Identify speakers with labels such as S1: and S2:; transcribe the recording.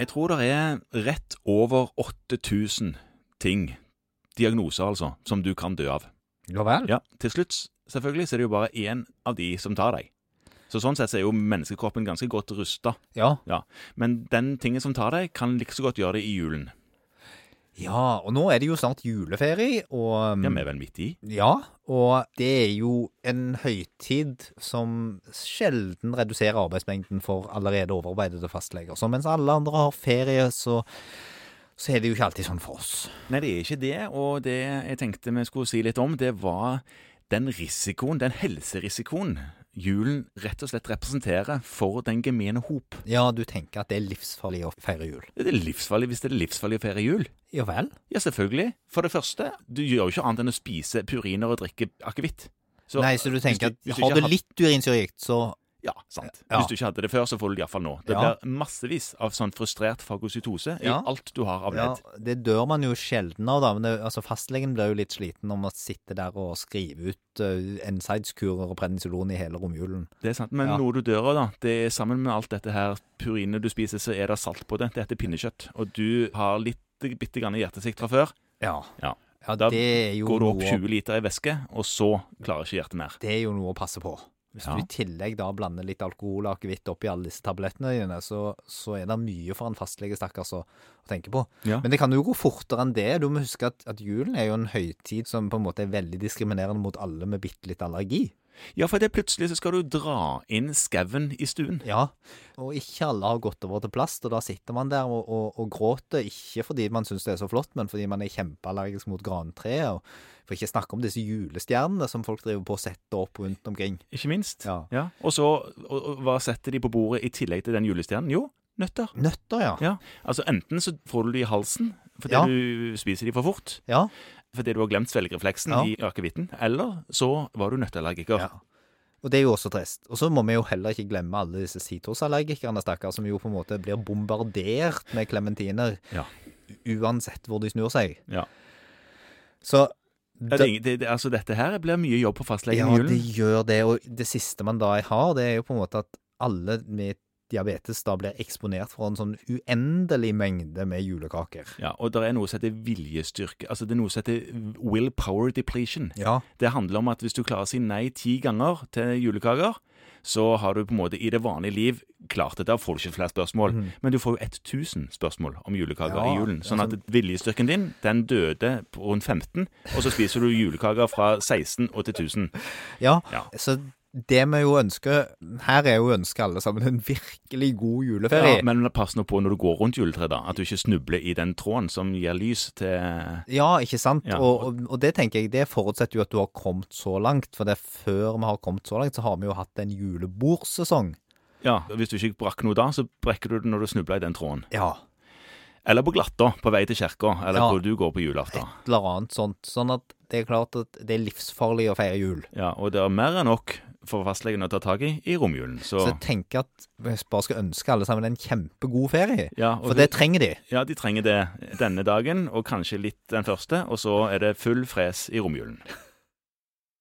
S1: Jeg tror det er rett over 8000 ting, diagnoser altså, som du kan dø av.
S2: Ja vel.
S1: Ja, Til slutt, selvfølgelig, så er det jo bare én av de som tar deg. Så Sånn sett så er jo menneskekroppen ganske godt rusta.
S2: Ja.
S1: Ja. Men den tingen som tar deg, kan like så godt gjøre det i julen.
S2: ja, og nå er det jo snart juleferie, og mm,
S1: Ja, vi er vel midt i.
S2: Ja, og det er jo en høytid som sjelden reduserer arbeidsmengden for allerede overarbeidede fastleger. Så mens alle andre har ferie, så, så er det jo ikke alltid sånn for oss.
S1: Nei, det er ikke det. Og det jeg tenkte vi skulle si litt om, det var den risikoen, den helserisikoen, julen rett og slett representerer for den gemene hop.
S2: Ja, du tenker at det er livsfarlig å feire jul.
S1: Det er livsfarlig hvis det er livsfarlig å feire jul.
S2: Ja vel?
S1: Ja, selvfølgelig. For det første, du gjør jo ikke annet enn å spise puriner og drikke akevitt. Så-
S2: Nei, så du tenker
S1: hvis hvis
S2: at har
S1: ikke
S2: du
S1: hadde-
S2: litt urinsurgikt, så
S1: Ja, sant.
S2: Ja.
S1: Hvis du ikke hadde det før, så får du det iallfall nå. Det
S2: Ja.
S1: blir massevis av sånn frustrert fagocytose i
S2: Ja.
S1: alt du har av
S2: ja,
S1: ledd.
S2: Det dør man jo sjelden av, da. Men det, altså, fastlegen blir jo litt sliten om å sitte der og skrive ut uh, NSIDES-kurer og prednisolon i hele romjulen.
S1: Det er sant. Men
S2: Ja.
S1: noe du dør av, da, det er sammen med alt dette her purinet du spiser, så er det salt på det. Det heter pinnekjøtt. Og du har litt bitte grann hjertesikt fra før.
S2: Ja.
S1: Ja.
S2: ja
S1: Da
S2: det er jo
S1: Går du opp
S2: noe-
S1: 20 liter i væske, og så klarer ikke hjertet mer.
S2: Det er jo noe å passe på. Hvis
S1: Ja.
S2: du i tillegg da blander litt alkohol og akevitt oppi alle disse tablettene dine, så, så er det mye for en fastlege, stakkars, å, å tenke på.
S1: Ja.
S2: Men det kan jo gå fortere enn det. Du må huske at, at julen er jo en høytid som på en måte er veldig diskriminerende mot alle med bitte litt allergi.
S1: Ja, for det er plutselig så skal du dra inn skauen i stuen.
S2: Ja, og ikke alle har gått over til plast, og da sitter man der og, og, og gråter, ikke fordi man syns det er så flott, men fordi man er kjempeallergisk mot grantreet. og For ikke snakke om disse julestjernene som folk driver på å sette opp rundt omkring.
S1: Ikke minst.
S2: Ja.
S1: Og så, og, og, hva setter de på bordet i tillegg til den julestjernen? Jo, nøtter.
S2: Nøtter, ja.
S1: Ja, altså Enten så får du de i halsen fordi
S2: Ja.
S1: du spiser de for fort,
S2: Ja.
S1: fordi du har glemt svelgerefleksen
S2: Ja.
S1: i akevitten, eller så var du nøtteallergiker.
S2: Ja. Og det er jo også trist. Og så må vi jo heller ikke glemme alle disse sitrusallergikerne, stakkar, som jo på en måte blir bombardert med klementiner
S1: Ja.
S2: uansett hvor de snur seg.
S1: Ja.
S2: Så
S1: Ja, Det, er ingen- det, det, altså Dette her blir mye jobb på fastlegen i
S2: ja,
S1: julen.
S2: det gjør det. Og det siste man da har, det er jo på en måte at alle med diabetes da blir eksponert for en sånn uendelig mengde med julekaker.
S1: Ja, og det er noe som heter viljestyrke. Altså Det er noe som heter willpower depletion.
S2: Ja.
S1: Det handler om at hvis du klarer å si nei ti ganger til julekaker, så har du på en måte i det vanlige liv klart det. Da får du ikke flere spørsmål. Men du får jo 1000 spørsmål om julekaker
S2: Mhm. Ja,
S1: i julen. Sånn at
S2: altså-
S1: viljestyrken din, den døde på rundt 15, og så spiser du julekaker fra 16 og til 1000.
S2: Ja,
S1: Ja.
S2: så det vi jo ønsker Her er jo ønsket alle sammen en virkelig god juleferie.
S1: Ja, men pass nå på når du går rundt juletreet, da, at du ikke snubler i den tråden som gir lys til
S2: Ja, ikke sant?
S1: Ja.
S2: Og, og, og det tenker jeg, det forutsetter jo at du har kommet så langt. For det er før vi har kommet så langt, så har vi jo hatt en julebordsesong.
S1: Ja, hvis du ikke brakk noe da, så brekker du det når du snubler i den tråden.
S2: Ja.
S1: Eller på glatta, på vei til kirka, eller
S2: Ja.
S1: hvor du går på julaften.
S2: Et eller annet sånt. Sånn at det er klart at det er livsfarlig å feire jul.
S1: Ja, og det er mer enn nok for fastlegen å ta tak i i romjulen. Så,
S2: Så jeg tenker at vi bare skal ønske alle sammen en kjempegod ferie.
S1: ja, og
S2: For det trenger de.
S1: ja, de trenger det denne dagen, og kanskje litt den første, og så er det full fres i romjulen.